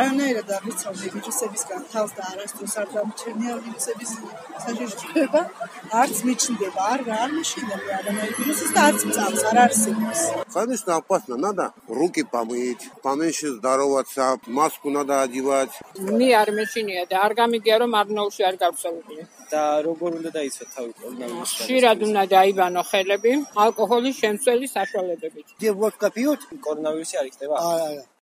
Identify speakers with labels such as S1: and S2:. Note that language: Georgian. S1: არანაირად აღრიცხვი ვირუსებისგან თავს და არასდროს არ გამოჩენია ვირუსების საშიშროება, არც მიჩნდება, არ არ მიშინდება არანაირი ვირუსის და არც წამს, არ არის სიგნალს.
S2: Конечно, опасно. Надо руки помыть, поменьше здороваться, маску надо одевать.
S3: მე არ მეშინია და არ გამიგია რომ არნოლში არ გავსავალი.
S4: და როგორ უნდა დაიცვათ თავი კორონავირუსთან?
S3: ხშირად უნდა დაიბანო ხელები ალკოჰოლის შემცველი საშუალებებით.
S5: где водка пьют,
S4: კორონავირუსი არ იქნება.
S5: а